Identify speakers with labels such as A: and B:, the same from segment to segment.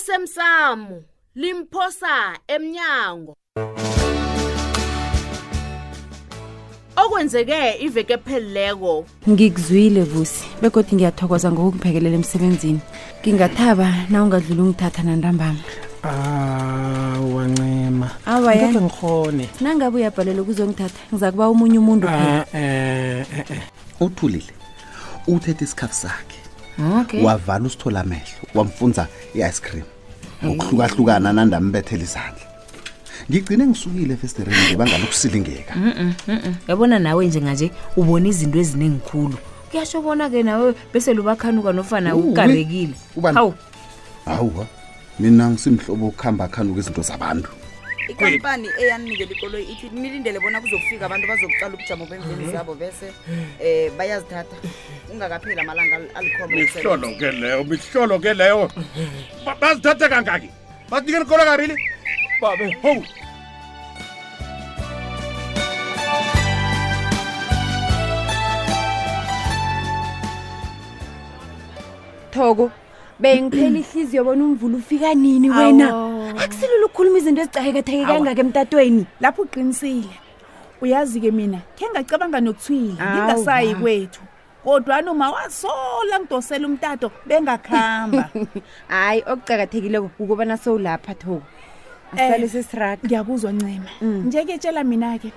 A: osemsamo limphosa emnyango okwenzeke iveke ephelileko
B: ngikuzwile vusi begodwa ngiyathokoza ngokungiphekelela emsebenzini ngingathaba na ungadlula ungithatha nantambama
C: awancema
B: Awa, ya.
C: ngeke Ah, ngikhone
B: nangabe uyabhalelwa kuzongithatha ngiza kuba omunye umuntu phela
C: Ah, eh, eh, eh.
D: uthulile uthethe isikhafu sakhe
B: okay
D: wavala usithola amehlo wamfunza i-ice cream ngokuhlukahlukana nandambethela izandla ngigcine ngisukile efestereni ngebanga lokusilingeka
E: yabona nawe njenganje ubona izinto ezinengikhulu kuyasho bona-ke nawe bese lubakhanuka nofana
D: Uwe.
E: ukarekile
D: Ubani?
E: hawu
D: hawuwa mina ngisimhlobo okuhamba khanuka izinto zabantu
F: ikampani eyanikela ikoloyi ithi nilindele bona kuzokufika abantu bazokuqala ubujamo bemveni zabo bese um bayazithatha ungakapheli amalanga ali- alikhomba
G: mihlolo ke leyo mihlolo ke leyo Ba- bazithathe kangaki bazinikela ikolo karile babe howu
B: thoko bengiphela ihliziyo bona umvula ufika nini wena akusilula ukukhuluma izinto ezicakeketheke kangaka emtatweni
H: lapho uqinisile uyazi-ke mina khe ngacabanga nokuthwile
B: Awu,
H: ngingasayi
B: ma.
H: kwethu kodwana uma wasola ngidosela umtato bengakuhamba
B: hhayi okucakathekileko ukubana sowulapha thoko asale sesiraga
H: ngiyakuzwa ncema
B: Mm.
H: njeke tshela mina-ke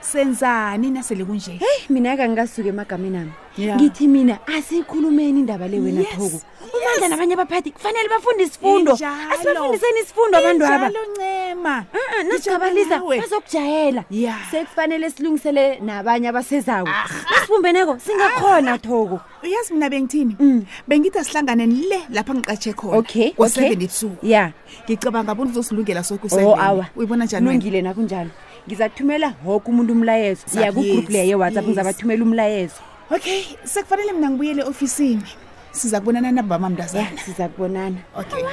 H: senzani nasele kunje
B: heyi mina-ke angingasuki emagameni ami
H: Ya.
B: ngithi mina asiyikhulumeni indaba le wena
H: Yes,
B: thoko umandla nabanye abaphathi kufanele bafunde isifundo
H: Injalo.
B: asibafundiseni isifundo abantu aba
H: Injalo, ncema
B: Uh-uh,
H: Ngijama
B: nasigabalisa
H: nawe.
B: bazokujayela
H: Ya. Ah.
B: sekufanele silungisele nabanye abasezako nasibumbeneko singakhona thoko
H: uyazi mina bengithini
B: Mm.
H: bengithi asihlangane le lapha ngiqatshe khona
B: Okay,
H: ngo-seven
B: okay.
H: ebusuku
B: ya
H: ngicabanga bona uzosilungela soke
B: o Oh, awa
H: uyibona njani wena?
B: lungile nakunjalo ngizathumela woke umuntu umlayezo
H: Zap,
B: ya kugroup
H: yes,
B: leyo yewhatsapp
H: yes.
B: ngizabathumela umlayezo
H: okay sekufanele mina ngibuyele e-ofisini siza kubonana nababa
B: ya
H: mntazana
B: siza kubonana
H: okay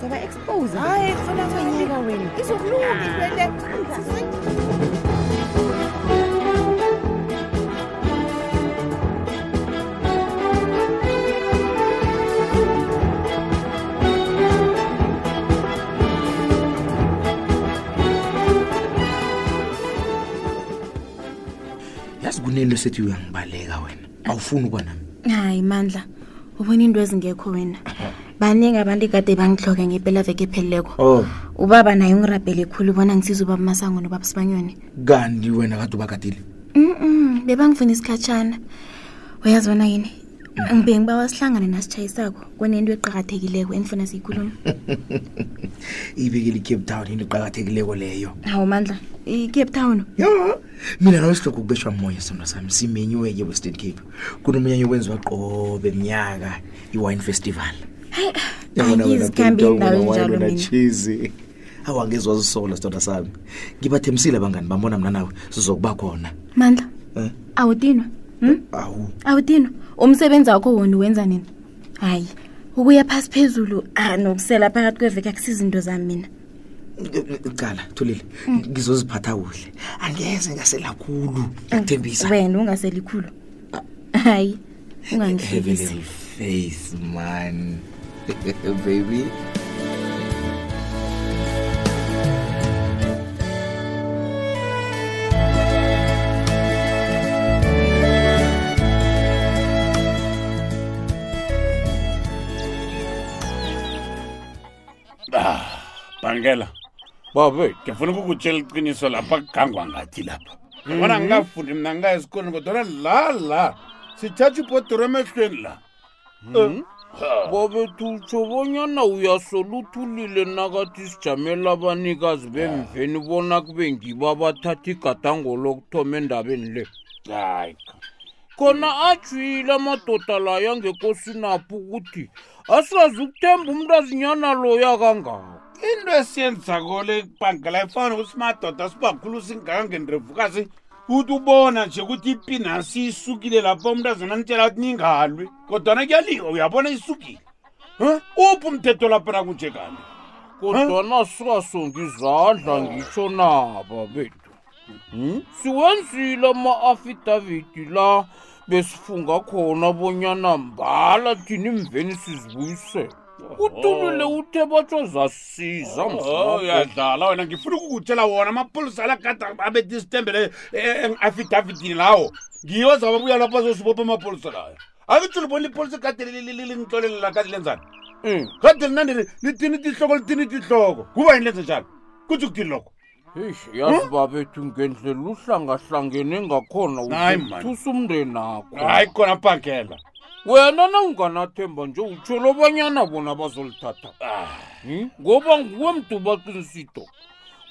B: saba-expose
H: hayi kufanele
B: Nyaka wena
H: izokulunga into le
I: yazi kunento sethi uyangibaleka wena awufuni ukuba nami
J: hayi mandla ubona into ezingekho wena baningi abantu kade bangihloke ngepelaveke epheleleko
I: oh
J: ubaba naye ungirabhele khulu bona ngisiza ubaba masango nobaba sibanyoni
I: kanti wena kade ubakadile
J: mm bebangifuna isikhatshana uyazi bona yini ngibe ngiba wasihlangane nasitshayisako kunento eqakathekileko endifuna siyikhuluma
I: ibekele i-cape town into eqakathekileko leyo
J: hawu mandla i-cape town
I: ya mina nawe silokhu kubeshwa moya sondo sami simenyiweke western cape kunomnyanya okwenziwa qobe mnyaka i-wine festival Yabona wena,
J: angizikhambi
I: Cape Town,
J: indawo
I: wena wine,
J: enjalo
I: wena
J: mina
I: cheese. Awu, angeze wazisola sidoda sami ngibathemisile abangani bambona mna nawe sizokuba khona
J: mandla
I: Eh?
J: awudinwa hm?
I: awu
J: awudinwa umsebenzi wakho wona uwenza nini hayi ukuya phasi phezulu ah, nokusela phakathi kweveki akusizinto zami mina
I: cala thulile ngizoziphatha kuhle angeze ngaselakhulu ngakuthembisa
J: wena ungaseli khulu hayi
I: Heaven
J: ungangihlekisi
I: and faith man baby
G: bhangela babe Ah, ngifuna ukukutshela iqiniso lapha kugangwa ngathi lapha bona ngingafundi mna ngingaya esikoleni kodwana la la sithatha ibhodoro emehlweni la Eh,
K: babethutsho bonyana uyasola uthulile nakathi sijamela abanikazi bemveni bona kube ngibo abathatha igadango lokuthoma endabeni le
G: hayi
K: khona ajwile amadoda layo angekosinapho ukuthi asazi ukuthemba umntu azinyana loya kangako
G: into esiyenzako le bhangela ifana ukuthi madoda sibakhulu singakangendirevukazi uthi ubona nje ukuthi ipinasi isukile lapho umntu azonanitshela ukuthi ningalwi kodwana kuyaliwa uyabona isukile Huh? uphi umthetho laphana kunje kani
K: kodwana singasongi izandla ngitsho naba bethu Hmm? siwenzile ama-afidaviti la besifunga khona bonyana mbala thini mveni sizibuyisele utulule uthe batsho zasiza
G: Oh, uyadlala wena ngifuna ukukutshela wona amapolisa alagada abethi isitembele afidavidini eh, lawo ngiyo zababuya lapho azosibopha amapolisa layo akitsho libona lipolisa kade lintlolele lakade lenzani
K: Mm.
G: kade linandi litini tihloko litini tihloko kuba yini lenze njalo kuthi kuthini lokho
K: eish yazi babethu ngendlela uhlangahlangene ngakhona
G: Hayi, man.
K: uthusa umndeni akho
G: hayi khona bhangela
K: wena nawunganathemba nje utsholo abanyana bona bazolithatha
G: Ah.
K: Hmm? ngoba nguwe mntu baqinisito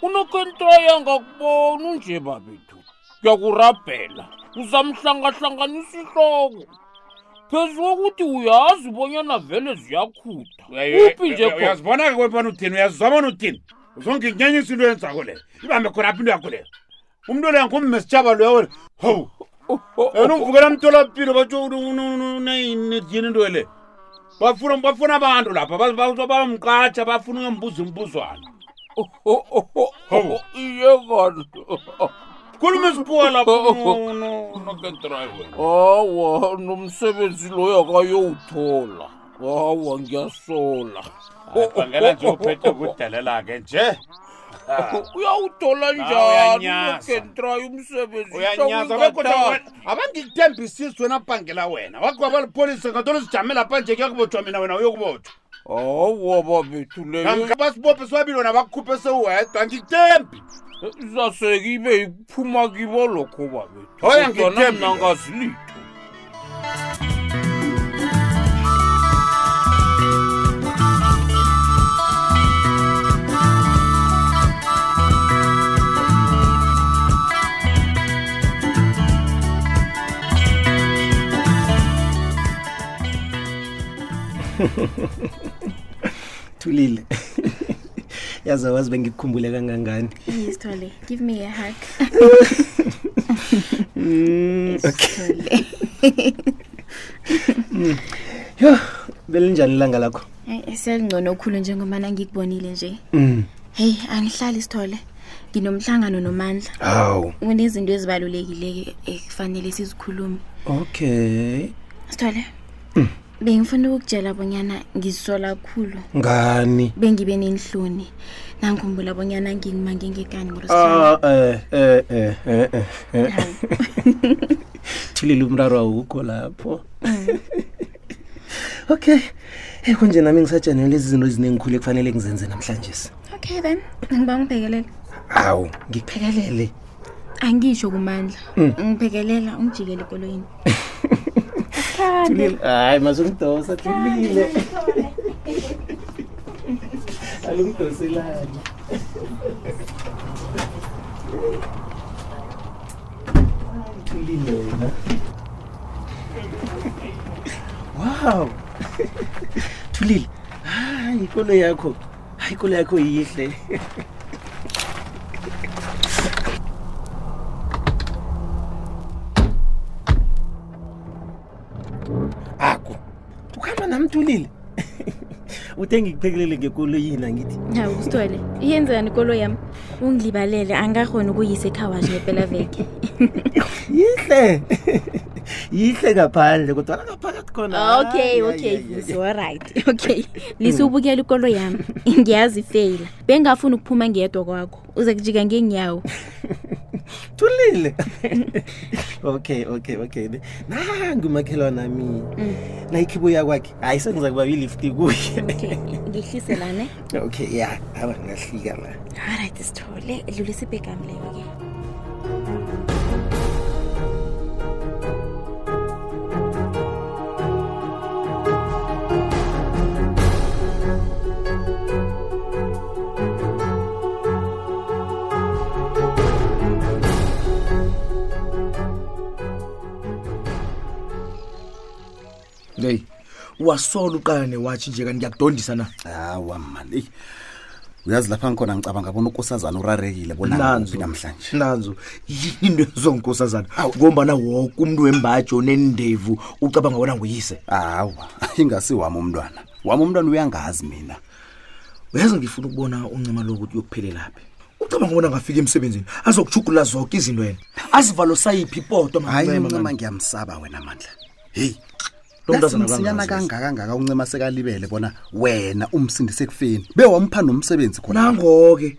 K: unokentraya ngakubona unje babethu ngiyakurabhela uzamhlangahlanganisa ihloko phezu kokuthi uyazi ubonyana vele ziyakhutha uphi nje khona?
G: Eh, uyazibona-ke kwempana uthini uyazizwa bona uthini uzonginyenyisa into yenzako leyo ibambe khona apha into yakho leyo umntu leyo ngumme sitshaba loyo wena hawu
K: Oh,
G: yena umvukela mtolapilo batsho nayinedini into le bafuna bafuna abantu lapha ba- ba- bamqatsha bafuna ungembuza imbuzwana
K: 어,
G: hawu
K: iye kanti
G: khuluma isipuwa lapho
K: 아, hawa nomsebenzi loyo akayowuthola hawa ngiyasola
G: 아,
K: 어,
G: bangela nje uphethe kudelela-ke nje
K: 어, uyawuthola
G: Ah,
K: njani
G: uyanyaza.
K: unokentrayo umsebenzi
G: uyanyaza bekodwa abangikuthembisisi wena bhangela wena wagwaba lipolisa ngantoni sijamela pha nje kuyakubotshwa mina wena uyokubotshwa
K: 아, hawa babethu leyo
G: basibophe sobabili wena bakukhuphe sewuhedwa ngikuthembi
K: zasekibe iphuma kibo lokho babethu
G: Hoya,
K: Kodwana
G: ngikuthembi
K: mina
G: lokho.
K: ngazilitho
C: thulile yazi awazi bengikukhumbule kangangani
J: Please, Tole, give me a hug.
C: Mm, okay. Mm. yo belinjani ilanga lakho
J: Hayi, selingcono khulu njengobana ngikubonile nje.
C: Mm.
J: Hey, angihlali sithole. Nginomhlangano nomandla.
C: hawu
J: Kunezinto ezibalulekile ekufanele sizikhulume.
C: okay
J: Sithole.
C: Mm.
J: Bengifuna ukukutshela bonyana ngisola kakhulu.
C: ngani
J: Bengibe nenhloni. Nangikhumbula bonyana ngingimange ngekani ngolosihlanu.
C: Ah, eh, eh, eh, eh, eh, eh. thulile umraro awukho lapho Mm. okay hey kunje nami ngisajanele lezi zinto ezinengikhulu ekufanele ngizenze namhlanje
J: Okay then, ngiba ngiphekelele.
C: hawu ngikuphekelele
J: Angisho kumandla.
C: Mm.
J: Ngiphekelela ungijikele ikoloyini.
C: Thulile, hayi mazungidosa thulile alungidoselani thulile wena wow thulile hayi ikolo yakho hayi ikolo yakho yihle aku ukhamba nami thulile uthe ngikuphekelele ngekolo yini angithi
J: hawu usithole iyenzekani ikolo yami ungilibalele angakhona ukuyise ekhawashi ngepelaveke
C: yihle yihle ngaphandle kodwana ngaphakathi khona
J: Ah, okay
C: hayi,
J: okay
C: hayi, hayi,
J: sis alright okay lisubukela ikolo yami ngiyazi ifeyila bengafuni ukuphuma ngiyedwa kwakho uze kujika ngenyawo
C: thulile okay okay okay ne nangu umakhelwana nami
J: Mm.
C: nayikhibuya kwakhe hayi sengiza kuba yilifti kuye
J: okay ngihliselane
C: okay ya aba ngahlika la
J: alright sithole dlulisa ibhegami leyo-ke
I: leyi wasola uqala newatshi nje kanti ngiyakudondisa na
D: hawa mani eyi uyazi lapha ngikhona ngicabanga bona ukosazana urarekile
I: Nanzo.
D: bonaphi namhlanje
I: nanzo yinto ezonkosazana ngombana woke umntu wembaji onendevu ucabanga wona nguyise
D: hawa ingasi wami umntwana wami umntwana uyangazi mina
I: uyazi ngifuna ukubona uncima lokuthi uyokuphelelaphi ucabanga wona ngafika emsebenzini azokuchugula zonke izinto yena azivalo sayiphi ipoto
D: hayi ncima ngiyamsaba wena mandla heyi
I: Lo mntazana
D: Yasimsinyana
I: kangaka
D: kangaka kangaka uncema sekalibele bona wena umsindise ekufeni bewampha nomsebenzi khona
I: nango-ke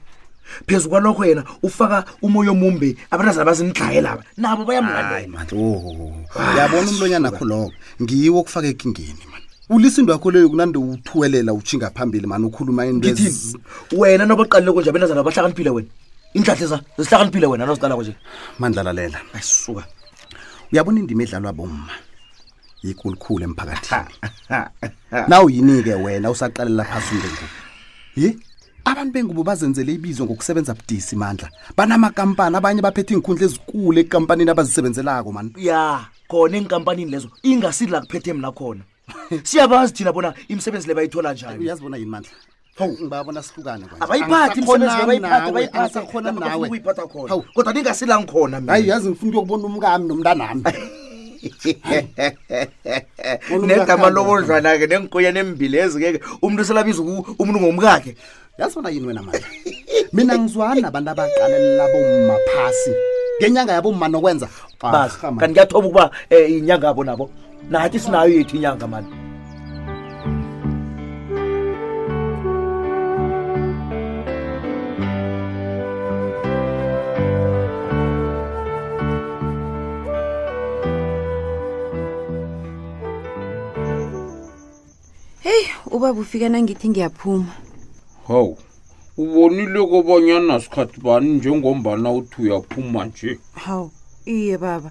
I: phezu kwalokho yena ufaka umoya omumbi abantazana bazinidlaye laba nabo bayamlandela Ah,
D: mandla o yabona umlonyana akho lowo ngiwo okufaka ekingeni mani ulisa into yakho leyo kunande uthuwelela utshinga phambili mani ukhuluma into
I: ngithini wena nobaqalile kunje abentazana bahlakaniphile wena iinhlahle za- zihlakaniphile wena noziqalako nje
D: mandla lalela ayisuka uyabona indima edlalwa bomma yikulukhulu emphakathini naw yini-ke wena usaqalela phasi umbengubo ye abantu bengubo bazenzele ibizo ngokusebenza budisi mandla banamakampani abanye baphethe iinkhundla ezikulu ekampanini abazisebenzelako mani
I: ya khona eenkampanini lezo ingasili la kuphethe mna khona siyabazi thina bona imisebenzi le bayithola njani
D: uyazibona yini mandla ngibabona sihlukane kwanje.
I: abayiphathi
D: Angisakhonani
I: imisebenzi le bayiphathe,
D: nawe,
I: bayiphathe.
D: angisakhonani
I: Lapho bafuna
D: nawe.
I: ukuyiphatha khona.
D: Hawu.
I: kodwa ningasilangkhona mina.
D: hayi yazi ngifuna ukuyokubona umkami nomntanami
I: negama lobodlwana-ke neenkoyana embilezi-ke umuntu selabiza umuntu ngomkakhe
D: yazibona yini wena manje mina ngizwana nabantu abaqalelela bomma phasi ngenyanga yabomma nokwenza Ah,
G: Ah,
I: bazi
D: Arha, man.
I: kanti kuyathoba ukuba um inyanga abo nabo nathi sinayo yethu inyanga mani
B: heyi ubaba ufika nangithi ngiyaphuma
K: hawu ubonile kobanyana sikhathi bani njengombana uthi uyaphuma nje
B: hawu iye baba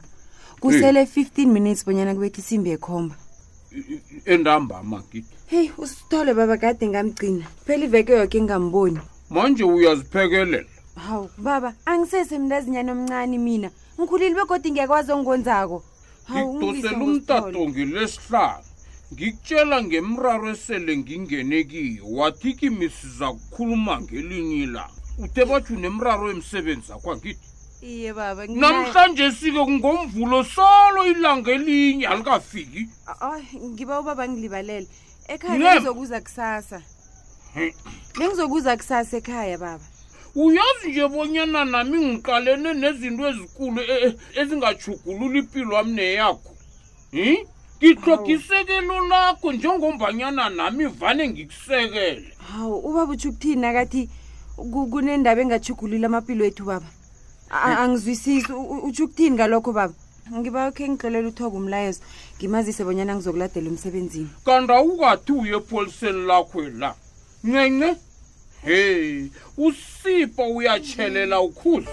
B: kusele 15 minutes bonyana kubetha isimbi yekhomba
K: endambama gidi
B: heyi usithole baba kade ngamgcina phela iveke yoke ngingamboni
K: manje uyaziphekelela
B: hawu baba angisesemntazinyana omncane mina ngikhulile begodi ngiyakwazi ongonzako hawu
K: ngidosela
B: ungilise
K: umtato ngilesihlanu ngikutshela ngemraro esele ngingene kiyo wathi kimi siza kukhuluma ngelinye ilanga ude batsho unemraro emsebenzi akwangithi
B: iye baba
K: namhlanje sike ngomvulo solo ilanga elinye alikafiki
B: Ay, ngiba ubaba ngilibalele
K: Yebo.
B: ekhaya ngizokuza kusasa
K: He.
B: bengizokuza kusasa ekhaya baba
K: uyazi nje bonyana nami ngiqalene nezinto ezikulu e- e- ezingajugulula impilo yami neyakho hi ngihlogisekelo lakho njengombanyana nami vane ngikusekele
B: hawu ubaba utsho ukuthini nakathi ku- kunendaba engatshugulula amapilo ethu baba A- a- angizwisisi U- u- utsho ukuthini ngalokho baba ngiba khe ngihlolela uthoka umlayezo ngimazise bonyana ngizokuladela emsebenzini
K: kanti awukathi uye epoliseni lakho la ncence heyi usipho uyatshelela ukhuza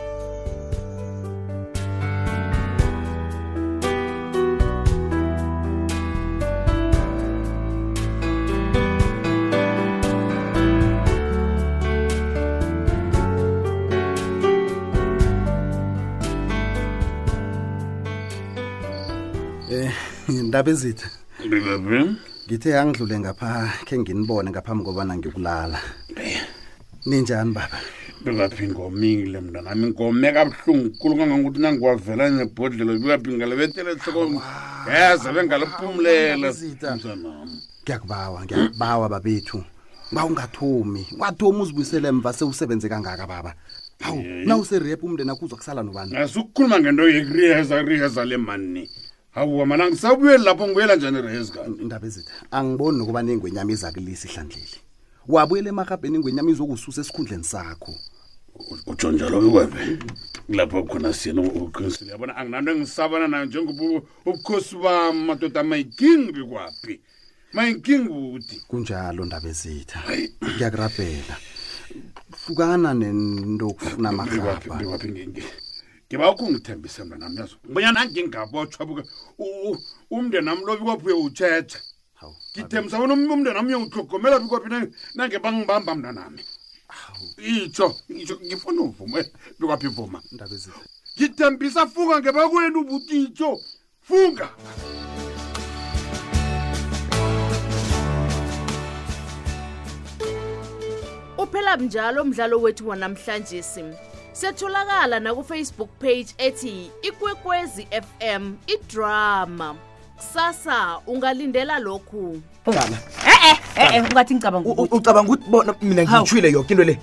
D: Eh, indaba ezitha ngithe angidlule ngapha khe nginibone ngaphambi kobana ngiyokulala ninjani baba
G: bengaphi ngomile mntanami ngome kabuhlungu kulu kangangokuthi nangiwavela nebhodlela bebapingela betele hloko yeza bengaliphumlela mntanami
D: ngiyakubawa ngiyakubawa babethu uba ungathomi ungathomi uzibuyisele emva sewusebenze kangaka baba hawu nawuserep umndeni akho uzakusala nobani
G: nasukukhuluma ngento yekuriyeza riyeza le mani hawu mana ngisabuyeli lapho ngibuyela njani ireyezi kanti
D: indaba ezitha angiboni nokuba nengwenyama izakulisa ihlandleli wabuyela emahapeni ingwenyama izokususa esikhundleni sakho
G: utsho njalo bekwebe lapho khona siyena uqinisile yabona anginanto engisabana nayo njengoba ubukhosi bam madoda mayikingi bekwaphi mayinkingi buti
D: kunjalo ndaba ezitha ngiyakurabhela hlukana nento okufuna amarhaba
G: ngiba ukho ngithembise mna nami yazo ngibonyana angingabotshwa buke u- u- umndeni nami lo bikophi uyewutshetha ngithembisa bona um- umndeni nami uyewutlogomela bikophi na- nange bangibamba mna nami itsho itsho ngifuna uvume bikophi vuma
D: ndaba ezitha
G: ngithembisa funga ngebakwenu ubutitsho funga
A: Uphela njalo umdlalo wethu wanamhlanje sim. Setholakala na ku Facebook page ethi Ikwekwezi FM iDrama. Sasa ungalindela lokhu.
I: Qala.
E: e-e e-e ungathi ngicabanga
I: U- u- ucabanga ukuthi bona mina ngiyithwile yoke into le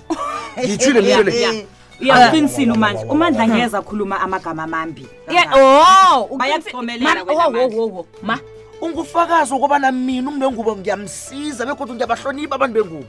I: ngiyithwile mina into le
L: uyaqinisile umanje umandla angeza akhuluma amagama amambi
E: Yeah, oh,
L: Bayakuthomelela wena manje.
E: ma
I: ungufakazi ukubana mina umuntu wengubo ngiyamsiza bekodwa ngiyabahloniphi abantu bengubo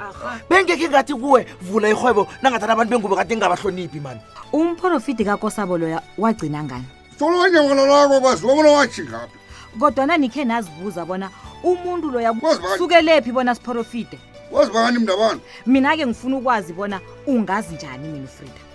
I: bengekhe ngathi kuwe vula ihwebo nangathana abantu bengubo kade ngingabahloniphi mani
L: umprofiti kakosabo loya wagcina ngani
M: solonyangalalako kwaziwa bona wajingaphi
L: kodwana nikhe nazibuza bona umuntu loya sukelephi bona siprofite
M: wazibakani mntu abantu
L: mina-ke ngifuna ukwazi bona ungazi njani mina ufrida